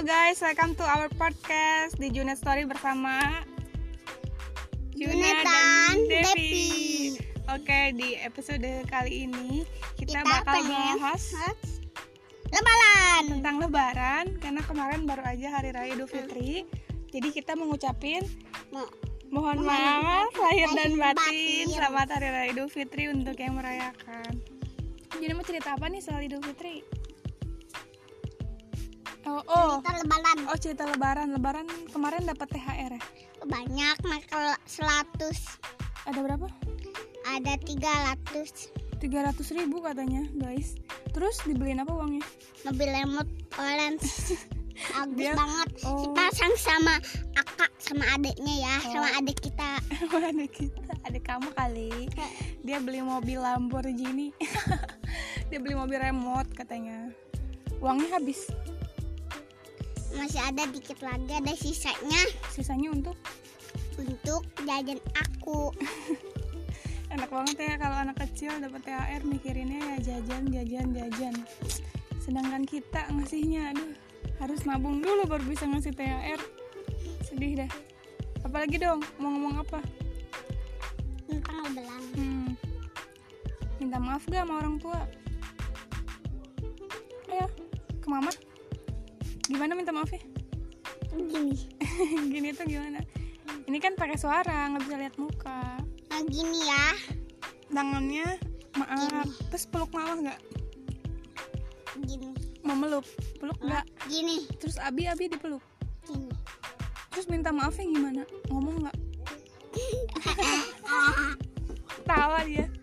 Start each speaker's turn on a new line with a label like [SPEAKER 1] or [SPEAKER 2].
[SPEAKER 1] guys, welcome to our podcast di Junet Story bersama Junet
[SPEAKER 2] Junet
[SPEAKER 1] dan
[SPEAKER 2] dan
[SPEAKER 1] Devi.
[SPEAKER 2] Devi.
[SPEAKER 1] Oke, di episode kali ini kita,
[SPEAKER 2] Kita ya?
[SPEAKER 1] bakal
[SPEAKER 2] pengen-
[SPEAKER 1] bahas
[SPEAKER 2] Lebaran.
[SPEAKER 1] tentang Lebaran karena kemarin baru aja Hari Raya Idul Fitri. Jadi kita mengucapin
[SPEAKER 2] Mau
[SPEAKER 1] mohon
[SPEAKER 2] Mohon
[SPEAKER 1] maaf
[SPEAKER 2] maaf,
[SPEAKER 1] lahir dan
[SPEAKER 2] lahir
[SPEAKER 1] batin.
[SPEAKER 2] batin.
[SPEAKER 1] Selamat Hari Raya Idul Fitri untuk yang merayakan. Jadi mau cerita apa nih soal Idul Fitri? Oh, oh.
[SPEAKER 2] kita lebaran
[SPEAKER 1] Oh cerita lebaran, lebaran kemarin dapat THR ya?
[SPEAKER 2] banyak makan 100
[SPEAKER 1] Ada berapa?
[SPEAKER 2] ada 300
[SPEAKER 1] 300 ribu katanya guys Terus dibeliin apa uangnya?
[SPEAKER 2] mobil remote orange bagus
[SPEAKER 1] Dia-
[SPEAKER 2] banget
[SPEAKER 1] oh.
[SPEAKER 2] kita sang sama akak sama adiknya ya sama adik kita
[SPEAKER 1] ada kita, ada kamu kali Dia beli mobil Lamborghini Dia beli mobil remote katanya Uangnya habis,
[SPEAKER 2] masih ada dikit lagi ada sisanya
[SPEAKER 1] sisanya untuk
[SPEAKER 2] untuk jajan aku
[SPEAKER 1] Enak banget ya kalau anak kecil dapat THR mikirinnya ya jajan, jajan, jajan Sedangkan kita ngasihnya aduh harus nabung dulu baru bisa ngasih THR Sedih dah Apalagi dong, mau ngomong apa?
[SPEAKER 2] tentang lebaran
[SPEAKER 1] Hmm. Minta maaf gak sama orang tua? Ayo, ke mama. Gimana minta maafnya?
[SPEAKER 2] gini
[SPEAKER 1] Gini tuh gimana? Ini kan pakai suara, nggak bisa lihat muka.
[SPEAKER 2] nah gini ya
[SPEAKER 1] Tangannya maaf. Terus peluk mama nggak?
[SPEAKER 2] gini
[SPEAKER 1] Memeluk, peluk nggak?
[SPEAKER 2] gini
[SPEAKER 1] Terus abi abi dipeluk.
[SPEAKER 2] gini
[SPEAKER 1] Terus minta maafnya gimana? Ngomong nggak? Tawa dia.